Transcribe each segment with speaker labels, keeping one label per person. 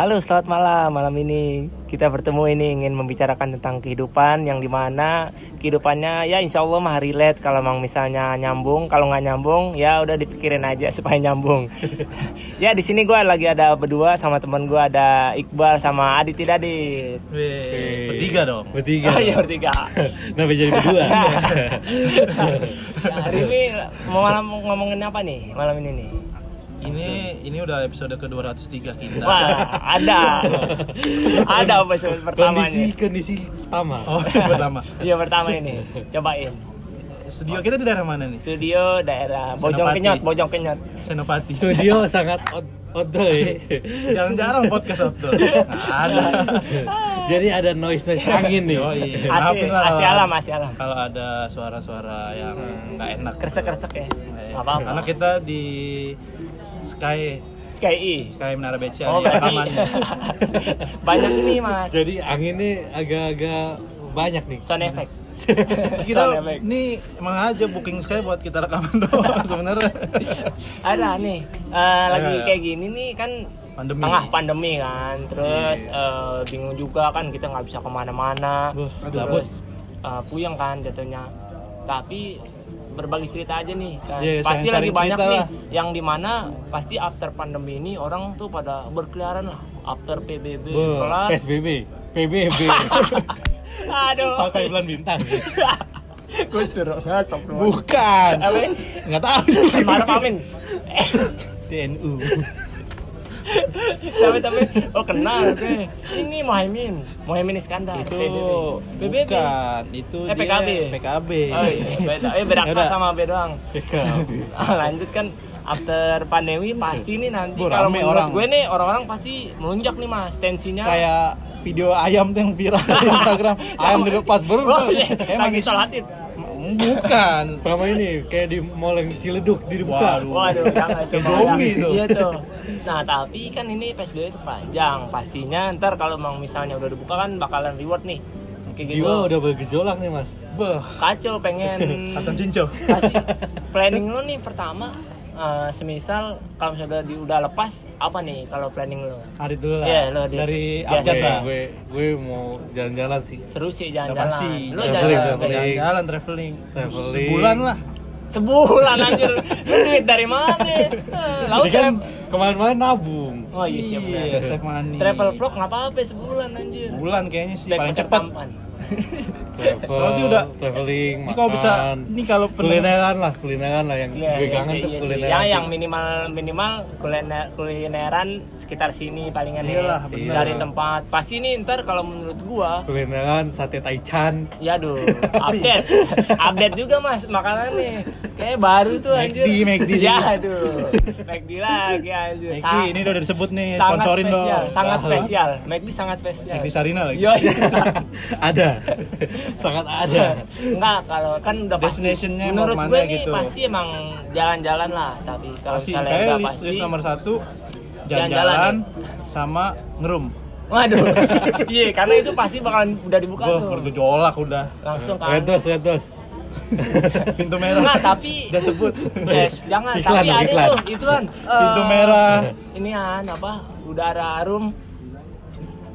Speaker 1: Halo, selamat malam. Malam ini kita bertemu ini ingin membicarakan tentang kehidupan yang dimana kehidupannya ya insya Allah mah relate kalau memang misalnya nyambung, kalau nggak nyambung ya udah dipikirin aja supaya nyambung. ya di sini gue lagi ada berdua sama teman gue ada Iqbal sama Adit tidak Adit.
Speaker 2: Wih, bertiga dong. Iya.
Speaker 3: Bertiga.
Speaker 1: Oh iya bertiga.
Speaker 3: Kenapa jadi berdua?
Speaker 1: Ya, hari ini mau malam ngomongin apa nih malam ini nih?
Speaker 2: Ini ini udah episode ke-203 kita.
Speaker 1: Wah ada ada apa sih pertamanya?
Speaker 3: kondisi kondisi pertama.
Speaker 2: Oh, yang pertama.
Speaker 1: Iya pertama ini cobain
Speaker 2: Studio kita di daerah mana nih?
Speaker 1: studio daerah Bojong
Speaker 2: Senopati.
Speaker 1: Kenyot Bojong Kenyot
Speaker 2: Senopati.
Speaker 3: Studio sangat out outdoor. ya.
Speaker 2: Jarang-jarang podcast outdoor.
Speaker 1: Iya.
Speaker 2: Nggak ada.
Speaker 3: jadi ada noise noise
Speaker 2: Iya.
Speaker 3: angin nih.
Speaker 2: Yoi.
Speaker 1: Asih
Speaker 2: Maafin lah
Speaker 1: Asih
Speaker 2: kalau-
Speaker 1: alam Asih alam
Speaker 2: Kalau ada suara-suara yang nggak enak.
Speaker 1: kresek kresek ya
Speaker 2: Eh,
Speaker 1: apa apa
Speaker 2: Karena kita di Sky
Speaker 1: Sky E
Speaker 2: Sky Menara Beca
Speaker 1: oh
Speaker 2: di
Speaker 1: berarti
Speaker 2: Taman.
Speaker 1: banyak ini mas
Speaker 3: Jadi anginnya agak-agak banyak nih.
Speaker 1: sound effect
Speaker 2: Kita
Speaker 1: sound effect
Speaker 2: ini emang aja booking Sky buat kita rekaman doang sebenarnya.
Speaker 1: ada nih eh, lagi kayak gini nih kan
Speaker 2: Pandemi. Iya,
Speaker 1: tengah pandemi kan terus eh, bingung juga kan kita nggak bisa kemana-mana
Speaker 2: Buh, gabut.
Speaker 1: terus eh, puyeng kan jatuhnya tapi berbagi cerita aja nih kan.
Speaker 2: Iya,
Speaker 1: pasti lagi
Speaker 2: sharing-sharing
Speaker 1: banyak
Speaker 2: cerita
Speaker 1: nih
Speaker 2: lah.
Speaker 1: yang dimana pasti after pandemi ini orang tuh pada berkeliaran lah after PBB
Speaker 2: Buh,
Speaker 1: kelar
Speaker 3: PSBB, PBB,
Speaker 1: aduh
Speaker 3: Pantai Bulan Bintang.
Speaker 1: Gus Dur, astagfirullah.
Speaker 2: Bukan.
Speaker 1: Apa?
Speaker 2: Nggak tahu.
Speaker 1: Maruf Amin.
Speaker 2: TNU.
Speaker 1: tapi tapi oh kenal deh. Ini Mohaimin, Mohaimin Iskandar.
Speaker 2: itu
Speaker 1: PBB.
Speaker 2: bukan itu
Speaker 1: Eh, PKB.
Speaker 2: dia PKB
Speaker 1: Oh iya, beda. Eh beda
Speaker 2: Yaudah.
Speaker 1: kelas sama B doang.
Speaker 3: PKB.
Speaker 1: Ah, Lanjut kan after pandemi pasti nih nanti
Speaker 2: Gua
Speaker 1: kalau
Speaker 2: rame
Speaker 1: menurut
Speaker 2: orang.
Speaker 1: gue nih orang-orang pasti melunjak nih Mas tensinya.
Speaker 2: kayak video ayam tuh yang viral di Instagram ayam dilepas baru
Speaker 1: Oh, iya. lagi
Speaker 2: is-
Speaker 1: sholat id.
Speaker 2: M- bukan
Speaker 3: Sama ini kayak di mall yang Ciledug dibuka.
Speaker 2: Waduh.
Speaker 1: Waduh, jangan itu
Speaker 2: Kayak
Speaker 1: Bang.
Speaker 2: zombie tuh.
Speaker 1: Iya tuh. Nah, tapi kan ini PSBB itu panjang. Pastinya ntar kalau emang misalnya udah dibuka kan bakalan reward nih. Kayak gitu.
Speaker 3: Jiwa udah bergejolak nih mas.
Speaker 2: beh
Speaker 1: Kacau pengen
Speaker 2: kata cinco
Speaker 1: pasti planning lu nih pertama eh, semisal kalau misalnya udah, di, udah lepas apa nih kalau planning lu?
Speaker 2: hari dulu lah
Speaker 1: Iya, lo di-
Speaker 2: dari
Speaker 1: biasa.
Speaker 2: abjad
Speaker 3: Gue-
Speaker 2: lah
Speaker 3: gue gue mau jalan-jalan sih.
Speaker 1: Seru sih
Speaker 2: Udah
Speaker 1: jalan-jalan.
Speaker 2: pasti
Speaker 1: Lu
Speaker 3: Jalan-jalan,
Speaker 1: jalan
Speaker 3: jalan-jalan.
Speaker 1: kayak-
Speaker 2: jalan traveling
Speaker 3: Traveling.
Speaker 2: sebulan lah
Speaker 1: sebulan anjir. Lu duit dari mana? Eh, Lalu
Speaker 3: Jadi kan kemarin-kemarin nabung.
Speaker 1: Oh iya siap benar.
Speaker 2: iya save money
Speaker 1: Travel vlog nggak apa-apa sebulan anjir.
Speaker 2: bulan kayaknya sih
Speaker 1: Back
Speaker 2: paling
Speaker 1: pacak
Speaker 2: cepat
Speaker 1: tampan.
Speaker 3: Travel,
Speaker 2: Soalnya udah-
Speaker 3: traveling,
Speaker 2: ini kalau bisa
Speaker 3: makan.
Speaker 2: ini kalau pendengar
Speaker 3: kulineran lah kulineran lah yang
Speaker 1: Iya,
Speaker 3: gue
Speaker 1: iya
Speaker 3: kangen
Speaker 1: sih,
Speaker 3: tuh
Speaker 1: iya sih.
Speaker 3: kulineran
Speaker 1: Yang, yang
Speaker 3: tuh.
Speaker 1: minimal minimal kuliner kulineran sekitar sini palingan nih.
Speaker 2: Iyalah,
Speaker 3: bener.
Speaker 1: Dari tempat. Pasti nih ntar kalau menurut gua
Speaker 3: kulineran sate taichan
Speaker 1: Ya aduh, update. update juga Mas makanan nih. Kayak baru tuh anjir.
Speaker 2: McD, McD.
Speaker 1: Ya aduh. McD lagi anjir.
Speaker 2: Meki,
Speaker 1: Sa-
Speaker 2: ini udah disebut nih
Speaker 1: sangat
Speaker 2: sponsorin dong
Speaker 1: spesial, sangat
Speaker 3: Halo.
Speaker 1: spesial. McD sangat spesial.
Speaker 2: Meki Sarina lagi
Speaker 1: Yo, iya.
Speaker 3: ada sangat ada
Speaker 1: Enggak, kalau kan udah pasti.
Speaker 2: Destination-nya mau
Speaker 1: Menurut
Speaker 2: kemana
Speaker 1: gue nih
Speaker 2: gitu.
Speaker 1: pasti emang jalan-jalan lah, tapi kalau
Speaker 2: Pasti
Speaker 1: misalnya
Speaker 2: kayak
Speaker 1: udah
Speaker 2: list,
Speaker 1: pasti.
Speaker 2: list nomor satu
Speaker 1: Jalan-jalan. ya.
Speaker 2: jalan-jalan sama ngerum.
Speaker 1: Waduh. Iya, karena itu pasti bakalan udah dibuka
Speaker 2: Wah,
Speaker 1: tuh.
Speaker 2: bergejolak udah.
Speaker 1: Langsung kan.
Speaker 3: red dos red dos
Speaker 2: Pintu merah.
Speaker 1: Enggak, tapi Eh,
Speaker 2: udah sebut.
Speaker 1: Yes, jangan,
Speaker 3: Iklan
Speaker 1: tapi
Speaker 3: dong,
Speaker 1: ada
Speaker 3: iklan.
Speaker 1: tuh, itu kan eh,
Speaker 2: Pintu merah.
Speaker 1: Ini kan apa? Udara harum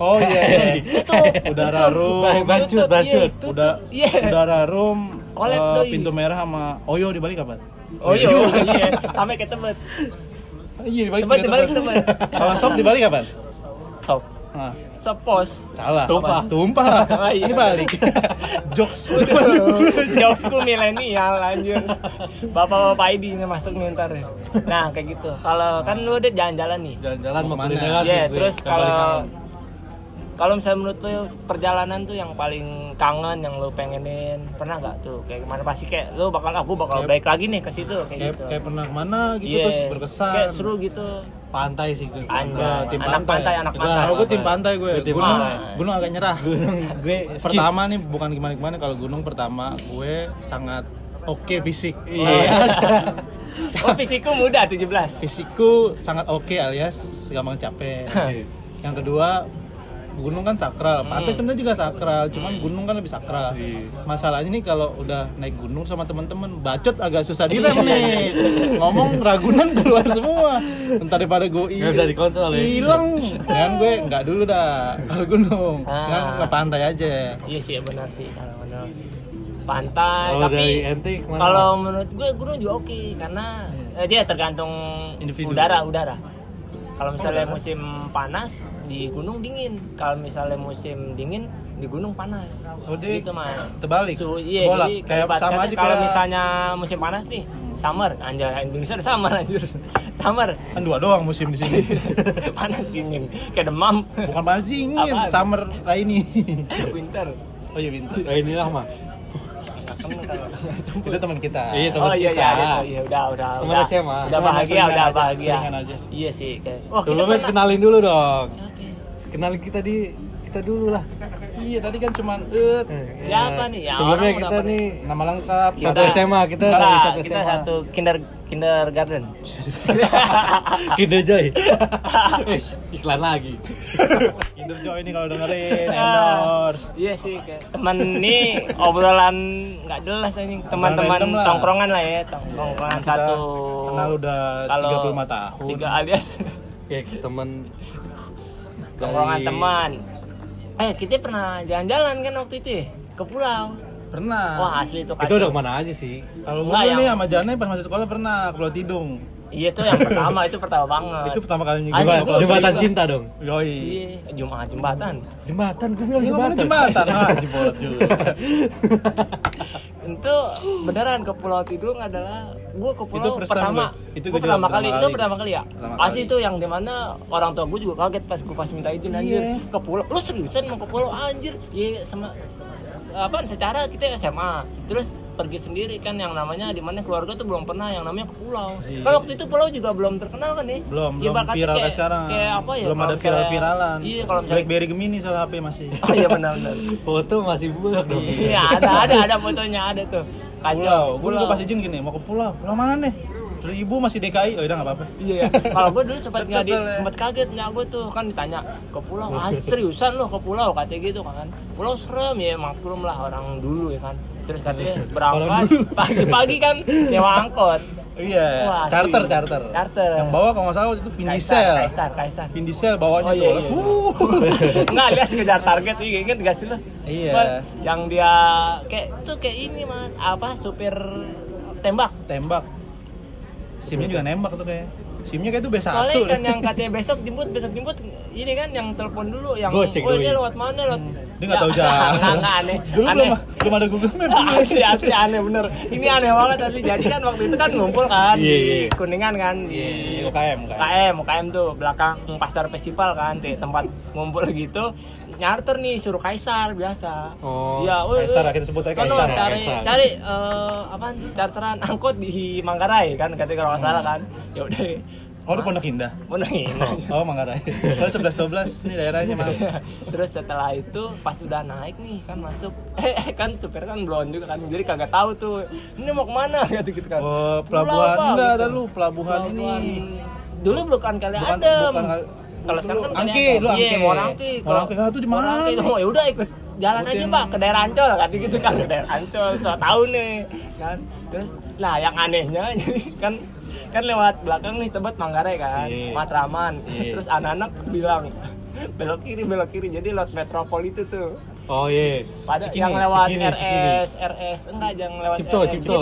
Speaker 2: Oh iya.
Speaker 1: tutup.
Speaker 2: Udara
Speaker 3: Baik,
Speaker 2: room.
Speaker 3: baik. Bancut,
Speaker 1: Tutup, iya,
Speaker 3: bancut.
Speaker 1: tutup,
Speaker 2: Oh, Udah
Speaker 1: iya.
Speaker 2: udara room.
Speaker 1: Collab
Speaker 2: eh,
Speaker 1: doi.
Speaker 2: pintu merah sama Oyo di Bali kapan?
Speaker 1: Oh iya, iya, sampai ke Tebet.
Speaker 2: Iya di Bali.
Speaker 1: Tebet,
Speaker 2: punya
Speaker 1: Tebet,
Speaker 2: teman.
Speaker 1: Tebet.
Speaker 2: Kalau sop di Bali kapan?
Speaker 1: Sop,
Speaker 2: Nah,
Speaker 1: sepos.
Speaker 2: salah.
Speaker 3: Tumpah.
Speaker 2: Tumpah lah.
Speaker 1: Oh, iya.
Speaker 2: Ini balik. Jokes.
Speaker 1: Jokesku milenial anjir. Bapak-bapak ID ini masuk nih ntar ya. Nah, kayak gitu. Kalau kan lu udah jalan-jalan nih.
Speaker 3: jalan-jalan
Speaker 2: Mau kemana?
Speaker 3: mau kulineran
Speaker 1: Iya,
Speaker 3: sih,
Speaker 1: terus
Speaker 3: gue.
Speaker 1: kalau kalau misalnya menurut lo perjalanan tuh yang paling kangen yang lo pengenin pernah nggak tuh kayak gimana pasti kayak lo bakal aku bakal
Speaker 2: Kayak-
Speaker 1: baik lagi nih ke situ kayak
Speaker 2: Kayak,
Speaker 1: gitu.
Speaker 2: kayak pernah kemana gitu
Speaker 1: Iya,
Speaker 2: terus berkesan.
Speaker 1: Kayak seru gitu.
Speaker 3: pantai sih gue
Speaker 1: Anjay,
Speaker 2: tim
Speaker 1: anak pantai,
Speaker 2: pantai.
Speaker 1: anak
Speaker 3: Itu
Speaker 1: pantai.
Speaker 2: Kalau gue tim pantai gue.
Speaker 3: Gue tim
Speaker 2: Gunung,
Speaker 1: pantai.
Speaker 2: gunung agak nyerah.
Speaker 3: gunung gue skip.
Speaker 2: pertama nih bukan gimana gimana kalau gunung pertama gue sangat oke fisik
Speaker 3: Iya.
Speaker 2: alias
Speaker 1: Oh, fisikku muda 17.
Speaker 2: fisikku sangat oke alias gampang capek yang kedua gunung kan sakral, pantai sebenarnya juga sakral, cuman gunung kan lebih sakral.
Speaker 3: Iya.
Speaker 2: Masalahnya nih kalau udah naik gunung sama teman-teman, bacot agak susah direm nih. Ngomong ragunan keluar semua. Entar daripada gue
Speaker 3: Nggak bisa dikontrol ya.
Speaker 2: Hilang. Kan gue nggak dulu dah kalau gunung.
Speaker 1: Ah.
Speaker 2: Kan ke pantai aja.
Speaker 1: Iya sih benar sih kalau menurut pantai
Speaker 2: Oh,
Speaker 3: Kalau
Speaker 1: tapi
Speaker 3: dari NT kemana?
Speaker 1: kalau menurut gue gunung juga oke karena eh, dia tergantung
Speaker 2: Iya. Individu.
Speaker 1: udara udara. Kalau misalnya musim panas di gunung dingin, kalau misalnya musim dingin di gunung panas.
Speaker 2: Oh, dia
Speaker 1: gitu mas.
Speaker 2: terbalik.
Speaker 1: Suhu- iya,
Speaker 2: Bolak.
Speaker 1: jadi
Speaker 2: Kayak
Speaker 1: kelihatannya
Speaker 2: sama aja
Speaker 1: kalau
Speaker 2: kayak-
Speaker 1: misalnya musim panas nih, summer, anjay Indonesia ada summer anjir. Summer.
Speaker 2: Kan dua doang musim di sini.
Speaker 1: panas dingin, kayak demam.
Speaker 2: Bukan panas dingin,
Speaker 1: Apaan?
Speaker 2: summer rainy.
Speaker 1: Winter.
Speaker 2: Oh iya winter.
Speaker 3: Eh, inilah mah.
Speaker 1: Oh, Nggak kena kalau-
Speaker 2: Itu teman kita.
Speaker 3: Iya, teman
Speaker 1: oh iya
Speaker 3: kita.
Speaker 1: iya iya, iya udah udah
Speaker 3: Teman
Speaker 1: udah
Speaker 3: SMA.
Speaker 1: udah
Speaker 2: Teman
Speaker 1: bahagia
Speaker 2: seringan
Speaker 1: udah
Speaker 2: aja,
Speaker 1: bahagia
Speaker 2: seringan aja.
Speaker 1: iya sih kayak wah kita
Speaker 3: Sebelumnya
Speaker 1: pernah
Speaker 3: kenalin dulu dong.
Speaker 1: siapa ya?
Speaker 3: Kenalin kita di kita dulu lah.
Speaker 2: Iya, tadi kan cuman eh,
Speaker 1: Siapa nih? Ya,
Speaker 3: Sebelumnya
Speaker 1: orang udah
Speaker 3: kita
Speaker 1: pada-
Speaker 3: nih
Speaker 2: nama lengkap.
Speaker 1: Iya.
Speaker 3: Satu
Speaker 2: kata-
Speaker 3: SMA, kita
Speaker 1: Kita-
Speaker 3: dari satu
Speaker 1: kita
Speaker 3: SMA.
Speaker 1: satu kinder kindergarten
Speaker 3: Kinder Joy. Eh, iklan lagi.
Speaker 2: Kinder Joy ini kalau dengerin
Speaker 1: Ya.
Speaker 2: endorse.
Speaker 1: iya sih kayak teman nih obrolan nggak jelas anjing teman-teman
Speaker 2: random lah.
Speaker 1: tongkrongan lah ya tongkrongan
Speaker 2: Kita
Speaker 1: satu
Speaker 2: kenal udah 35 tahun.
Speaker 1: tiga alias
Speaker 3: Kayak teman
Speaker 1: tongkrongan
Speaker 3: dari-
Speaker 1: teman eh kita pernah jalan-jalan kan waktu itu ya? ke pulau
Speaker 2: Pernah.
Speaker 1: wah asli itu
Speaker 3: Itu
Speaker 1: kacau.
Speaker 3: udah kemana aja sih?
Speaker 2: Kalau gue
Speaker 1: Enggak,
Speaker 2: dulu nih
Speaker 1: yang-
Speaker 2: sama Jane pas masih sekolah pernah ke Pulau Tidung.
Speaker 1: Iya tuh yang pertama itu pertama banget.
Speaker 2: Itu pertama kalinya
Speaker 1: Ayo,
Speaker 2: gua
Speaker 1: Jembatan-
Speaker 2: ke Pulau
Speaker 3: Jembatan
Speaker 2: Tidung.
Speaker 3: cinta dong.
Speaker 2: Yoi.
Speaker 1: Iya, Jumat jembatan.
Speaker 3: Jembatan, gue bilang
Speaker 2: Ini ngomongnya jembatan. Ah, jebolot juga.
Speaker 1: Itu beneran ke Pulau Tidung adalah gue ke Pulau
Speaker 2: Itu first time
Speaker 1: pertama.
Speaker 2: gue. Itu
Speaker 1: Itu
Speaker 2: gue juga
Speaker 1: pertama
Speaker 2: pertama
Speaker 1: kali. Itu
Speaker 2: kali.
Speaker 1: pertama kali ya.
Speaker 2: Pertama
Speaker 1: Pasti
Speaker 2: kali.
Speaker 1: itu yang dimana orang tua gue juga kaget pas gue pas minta izin anjir
Speaker 2: Iya.
Speaker 1: ke Pulau. Lu seriusan mau ke Pulau anjir? Iya sama apa secara kita SMA terus pergi sendiri kan yang namanya dimana keluarga tuh belum pernah yang namanya ke pulau
Speaker 2: Iya.
Speaker 1: kalau waktu itu pulau juga belum terkenal kan nih
Speaker 2: Belum, belum
Speaker 1: Ibaratnya
Speaker 2: viral kayak
Speaker 1: kayak-
Speaker 2: sekarang.
Speaker 1: kayak apa ya kalau
Speaker 2: Belum ada
Speaker 1: misalnya-
Speaker 2: viral-viralan.
Speaker 1: iya kalau misalnya
Speaker 2: BlackBerry Gemini salah HP masih.
Speaker 1: Oh iya benar-benar.
Speaker 3: Foto masih bulat dong.
Speaker 1: Iya ada ada ada fotonya ada tuh. Kacau.
Speaker 2: Pulau, gue dulu
Speaker 1: Pulau.
Speaker 2: pas izin gini, mau ke pulau, pulau mana nih? Seribu masih DKI, oh udah nggak apa-apa
Speaker 1: Iya. iya. Kalau gue dulu sempat nggak di,
Speaker 2: Betul, ya.
Speaker 1: sempat kaget nggak gue tuh kan ditanya ke pulau. Ah seriusan lo ke pulau katanya gitu kan. Pulau serem ya maklum lah orang dulu ya kan. Terus katanya berangkat pagi-pagi kan nyewa angkot.
Speaker 2: Iya,
Speaker 1: Wah,
Speaker 2: charter,
Speaker 1: asli.
Speaker 2: charter
Speaker 1: Charter.
Speaker 2: Yang bawa kalau nggak salah waktu itu Vindicel
Speaker 1: Kaisar, Kaisar.
Speaker 2: Vindicel bawanya
Speaker 1: Oh,
Speaker 2: tuh,
Speaker 1: iya,
Speaker 2: terus,
Speaker 1: iya.
Speaker 2: wuh.
Speaker 1: Enggak, dia ngejar target iya, inget gak sih lo?
Speaker 2: Iya.
Speaker 1: Cuman Yang dia kayak tuh kayak ini mas apa supir tembak.
Speaker 2: Uh, Tembak Simnya juga nembak tuh kayak Simnya kayak itu B1
Speaker 1: Soalnya kan yang katanya besok jemput, besok jemput ini kan yang telepon dulu yang
Speaker 3: Gocek
Speaker 1: oh
Speaker 3: dulu
Speaker 1: ini
Speaker 3: ya."
Speaker 1: lewat mana lewat.
Speaker 2: Hmm. Dia nggak tahu
Speaker 1: Ya,
Speaker 2: jalan
Speaker 1: nggak, nggak, aneh.
Speaker 2: Dulu
Speaker 1: aneh.
Speaker 2: belum, belum ada Google Maps
Speaker 1: asli asli aneh bener. Ini aneh banget asli. Jadi kan waktu itu kan ngumpul kan
Speaker 3: Iya,
Speaker 1: di
Speaker 3: iya.
Speaker 1: Kuningan kan. di
Speaker 2: Iya, UKM kan
Speaker 1: UKM, UKM tuh belakang pasar festival kan, te- tempat ngumpul gitu. Nyarter nih suruh Kaisar biasa.
Speaker 3: Oh,
Speaker 1: Iya, "Woi,
Speaker 2: Kaisar,
Speaker 1: woi,
Speaker 2: akhirnya sebutnya
Speaker 1: sono,
Speaker 2: Kaisar,
Speaker 1: Cari
Speaker 3: Kaisar.
Speaker 1: cari eh, apa charteran angkot di Manggarai kan katanya kalau nggak salah kan. Ya udah.
Speaker 2: Oh, di Pondok Indah
Speaker 1: Menangin.
Speaker 2: Hmm. Oh, Manggarai Soalnya 11-12, ini daerahnya maaf
Speaker 1: Iya. Terus setelah itu pas udah naik nih kan masuk eh kan supir kan blon juga kan jadi kagak tahu tuh ini mau kemana gitu gitu kan.
Speaker 2: Oh,
Speaker 1: Pulau
Speaker 2: pelabuhan
Speaker 1: apa?
Speaker 2: enggak,
Speaker 1: Gitu.
Speaker 2: ada lu pelabuhan ini
Speaker 1: Dulu bukan kali
Speaker 2: Bukan-
Speaker 1: adem.
Speaker 2: bukan kali-
Speaker 1: kalau sekarang kan
Speaker 2: Angke,
Speaker 1: kali adem.
Speaker 2: lu
Speaker 1: Iya,
Speaker 2: angke.
Speaker 1: mau angke.
Speaker 2: Mau angke, ah, tuh di mana?
Speaker 1: Oh, ya udah ikut jalan aja,
Speaker 2: Ikutin.
Speaker 1: Pak, ke daerah Ancol kan gitu kan ke daerah Ancol. So tahu nih kan. Terus lah yang anehnya jadi kan kan lewat belakang nih tebet Manggarai kan,
Speaker 3: Iya.
Speaker 1: Matraman.
Speaker 3: Iya.
Speaker 1: Terus anak-anak bilang belok kiri belok kiri jadi lewat metropol itu tuh
Speaker 3: Oh iya.
Speaker 1: Padahal
Speaker 3: Cikini,
Speaker 1: yang lewat
Speaker 3: Cikini,
Speaker 1: RS, RS enggak yang lewat
Speaker 3: Cipto,
Speaker 1: RS.
Speaker 3: Cipto.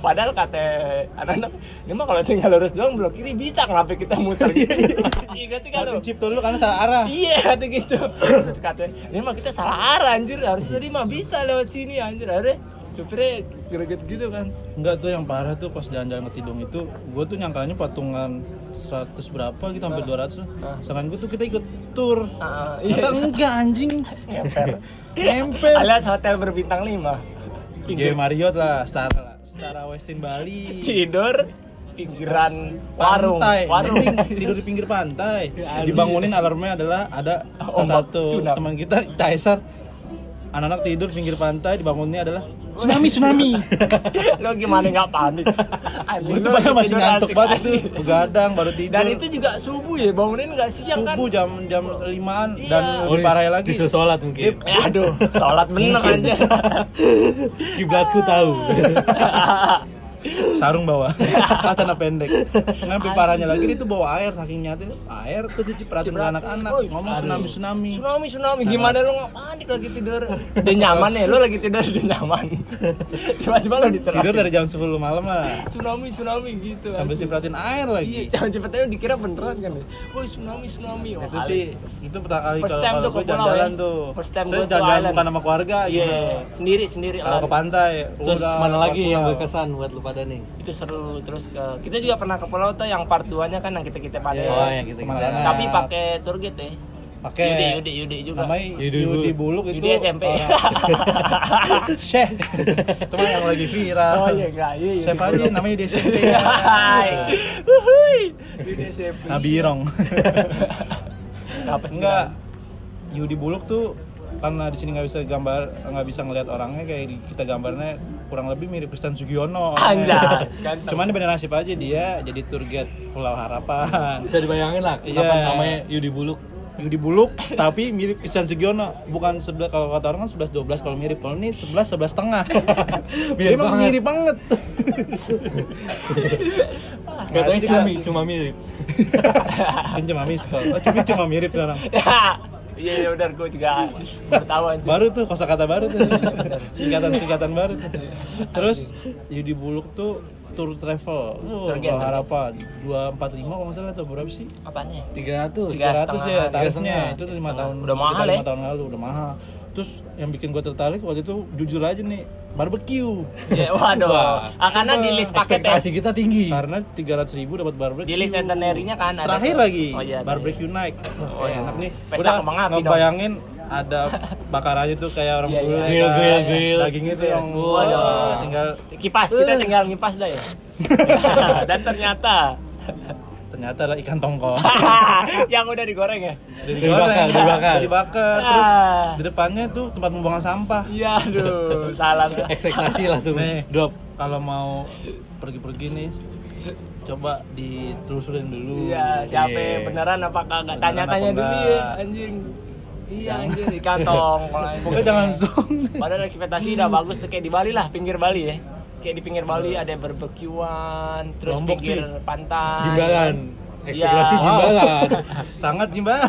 Speaker 1: Padahal kata anak-anak, ini mah kalau tinggal lurus doang belok kiri bisa kenapa kita muter gitu. Iya ngerti kan lu?
Speaker 2: Buatin chip dulu karena salah arah
Speaker 1: Iya kata gitu. Terus katanya, ini mah kita salah arah anjir, harus tadi mah bisa lewat sini anjir. Akhirnya supirnya greget gitu kan.
Speaker 2: Enggak tuh yang parah tuh pas jalan-jalan ke Tidung itu Gue tuh nyangkanya patungan 100 berapa gitu hampir 200 lah Sedangkan gue tuh kita ikut tour
Speaker 1: Ah,
Speaker 2: Kata
Speaker 1: iya.
Speaker 2: enggak anjing
Speaker 3: iya.
Speaker 1: Ngemper.
Speaker 2: Nempel
Speaker 1: Alias hotel berbintang 5.
Speaker 2: J Marriott lah, Star lah Setara Westin Bali
Speaker 1: Tidur pinggiran warung,
Speaker 2: Pantai,
Speaker 1: warung.
Speaker 2: Mending tidur di pinggir
Speaker 1: Oh,
Speaker 2: pantai. Dibangunin alarmnya adalah ada salah
Speaker 1: Ombak
Speaker 2: satu
Speaker 1: tsunami.
Speaker 2: teman kita Kaisar anak-anak tidur pinggir pantai dibangunnya adalah tsunami tsunami
Speaker 1: lo gimana nggak panik Anjing,
Speaker 2: itu
Speaker 1: lo
Speaker 2: padahal masih
Speaker 1: tidur
Speaker 2: ngantuk banget itu
Speaker 1: asik-asik.
Speaker 2: begadang baru tidur
Speaker 1: dan itu juga subuh ya bangunin nggak siang kan
Speaker 2: subuh jam jam limaan
Speaker 1: Iya.
Speaker 2: dan
Speaker 3: Oh,
Speaker 2: lebih parah lagi
Speaker 3: Disuruh sholat
Speaker 2: Dia-
Speaker 3: mungkin.
Speaker 1: Eh, aduh Iya, sholat bener aja
Speaker 3: Kiblatku tahu.
Speaker 2: sarung bawa katana pendek Yang lebih parahnya lagi dia tuh bawa air saking nyatir air terus cuci perhatiin ke anak-anak
Speaker 1: Woi,
Speaker 2: ngomong tsunami tsunami
Speaker 1: tsunami tsunami gimana lo nggak panik lagi tidur udah nyaman ya lo lagi tidur udah nyaman tiba-tiba lo diterang
Speaker 2: tidur dari jam 10 malam lah
Speaker 1: tsunami tsunami gitu
Speaker 2: sambil
Speaker 1: anjing.
Speaker 2: cipratin air
Speaker 1: iya
Speaker 2: lagi
Speaker 1: jangan cepet aja dikira beneran kan ya woi tsunami tsunami Oh,
Speaker 2: itu
Speaker 1: kali.
Speaker 2: sih itu pertama kali
Speaker 1: First
Speaker 2: kalau
Speaker 1: time
Speaker 2: kalau
Speaker 1: tuh
Speaker 2: gue
Speaker 1: ke pulau
Speaker 2: jalan-jalan
Speaker 1: ya.
Speaker 2: tuh
Speaker 1: First time
Speaker 2: saya
Speaker 1: gue ke
Speaker 2: jalan-jalan
Speaker 1: island.
Speaker 2: bukan sama keluarga
Speaker 1: Iya,
Speaker 2: gitu
Speaker 1: sendiri sendiri
Speaker 2: kalau
Speaker 1: lah.
Speaker 2: ke pantai
Speaker 3: Terus
Speaker 2: udah
Speaker 3: mana
Speaker 2: keluar
Speaker 3: lagi yang
Speaker 2: pulau.
Speaker 3: berkesan buat lu pada nih?
Speaker 1: itu seru terus ke kita juga pernah ke pulau tuh yang part 2 nya kan yang kita kita pada
Speaker 2: Iya.
Speaker 3: Oh, yang kita-
Speaker 2: Kemana-mana.
Speaker 1: tapi pakai tour guide ya
Speaker 2: pakai
Speaker 1: Yudi Yudi Yudi juga
Speaker 2: namanya
Speaker 3: Yudi
Speaker 2: Yudi, Buluk itu
Speaker 1: Yudi SMP
Speaker 2: orang- Syekh teman yang lagi viral
Speaker 1: oh iya enggak iya iya
Speaker 2: siapa aja namanya Yudi SMP
Speaker 1: Hai. Wuhui. Yudi SMP
Speaker 2: Nabi Irong
Speaker 1: Apa sih,
Speaker 2: enggak Yudi Buluk tuh karena di sini nggak bisa gambar nggak bisa ngelihat orangnya kayak di- kita gambarnya kurang lebih mirip Kristen Sugiono orangnya.
Speaker 1: Anjay, ganteng.
Speaker 2: cuman beda nasib aja dia jadi tour guide Pulau Harapan
Speaker 3: Bisa dibayangin lah kenapa
Speaker 2: Iya.
Speaker 3: namanya Yudi Buluk.
Speaker 2: Yudi Buluk tapi mirip Kristen Sugiono bukan sebelah kalau kata orang kan 11 12 kalau mirip kalau ini 11 11 setengah
Speaker 3: Mirip
Speaker 2: emang
Speaker 3: banget.
Speaker 2: mirip banget
Speaker 3: Katanya
Speaker 2: sih,
Speaker 3: cumi, cuma mirip.
Speaker 2: kan cuma miskal oh, cuma cuma mirip orang
Speaker 1: iya iya benar gue juga bertahu anjing.
Speaker 2: baru tuh kosakata baru tuh singkatan singkatan baru tuh terus Yudi Buluk tuh tour travel tuh
Speaker 1: Tour guide, tour guide.
Speaker 2: harapan dua empat lima kalau nggak salah atau berapa sih
Speaker 1: apanya
Speaker 3: 300.
Speaker 1: Tiga
Speaker 2: ratus ya
Speaker 1: setengah,
Speaker 2: tarifnya
Speaker 3: tiga setengah,
Speaker 2: itu tuh
Speaker 1: tiga
Speaker 2: lima
Speaker 1: setengah.
Speaker 2: tahun
Speaker 1: Udah
Speaker 2: sekitar
Speaker 1: mahal ya?
Speaker 2: lima tahun lalu udah mahal terus yang bikin gua tertarik waktu itu jujur aja nih barbecue
Speaker 1: Ya, waduh
Speaker 3: Wah.
Speaker 1: ah, karena di list paketnya
Speaker 3: Ekspektasi kita tinggi.
Speaker 2: karena tiga ratus ribu dapat barbecue
Speaker 1: di list itinerary-nya kan ada
Speaker 2: terakhir
Speaker 1: tuh.
Speaker 2: lagi
Speaker 1: oh, iya, ada.
Speaker 2: barbecue night
Speaker 1: Oh,
Speaker 2: oh,
Speaker 1: iya.
Speaker 2: enak nih
Speaker 1: Pesta
Speaker 2: udah
Speaker 1: kembang api dong.
Speaker 2: ngebayangin ada bakarannya tuh kayak orang
Speaker 1: Iya, iya.
Speaker 2: bule
Speaker 3: Grill,
Speaker 2: kan.
Speaker 3: grill, grill.
Speaker 2: dagingnya tuh yang
Speaker 1: Wah,
Speaker 2: wah,
Speaker 1: dong.
Speaker 2: tinggal
Speaker 1: kipas kita tinggal ngipas dah ya dan ternyata
Speaker 2: ternyata ada ikan tongkol
Speaker 1: yang udah digoreng ya
Speaker 2: Udah
Speaker 3: dibakar,
Speaker 2: digoreng,
Speaker 3: dibakar.
Speaker 2: udah dibakar. terus
Speaker 1: Ah.
Speaker 2: di depannya tuh tempat pembuangan sampah
Speaker 1: iya aduh salah gua.
Speaker 3: Ekspektasi langsung
Speaker 2: Nih.
Speaker 3: drop.
Speaker 2: kalau mau pergi-pergi nih coba ditelusurin dulu
Speaker 1: iya siapa
Speaker 3: Iya.
Speaker 1: beneran apa kagak
Speaker 2: Beneran
Speaker 1: tanya-tanya
Speaker 2: apa
Speaker 1: dulu
Speaker 2: enggak?
Speaker 1: ya anjing iya anjing di kantong kalau anjing.
Speaker 2: pokoknya jangan zong
Speaker 1: Padahal ekspektasi udah bagus tuh kayak di Bali lah, pinggir Bali ya. Kayak di pinggir Bali ada barbekyuan, terus
Speaker 2: Iya. Lombok, kan?
Speaker 1: pinggir
Speaker 2: cuy.
Speaker 1: pantai.
Speaker 3: Jimbaran. Ekspektasi
Speaker 1: Iya.
Speaker 3: jimbaran.
Speaker 2: sangat jimbalan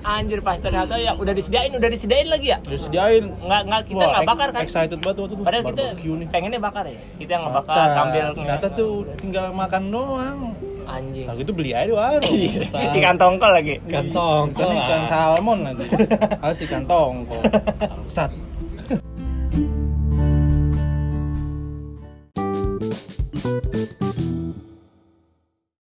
Speaker 1: Anjir pas ternyata ya udah disediain, udah disediain lagi ya.
Speaker 2: udah sediain
Speaker 1: Nggak nggak kita
Speaker 2: Wah,
Speaker 1: nggak
Speaker 2: ex-
Speaker 1: bakar kan.
Speaker 2: excited banget waktu itu
Speaker 1: Padahal kita
Speaker 2: barbecue nih
Speaker 1: pengennya bakar ya. Kita yang nggak bakar
Speaker 2: Bakar.
Speaker 1: sambil
Speaker 2: ternyata tuh tinggal makan doang
Speaker 1: anjing.
Speaker 2: nah gitu beli aja doang
Speaker 1: di kantong kol lagi.
Speaker 3: Kantong.
Speaker 2: kan ikan salmon lagi harus ikan tongkol sat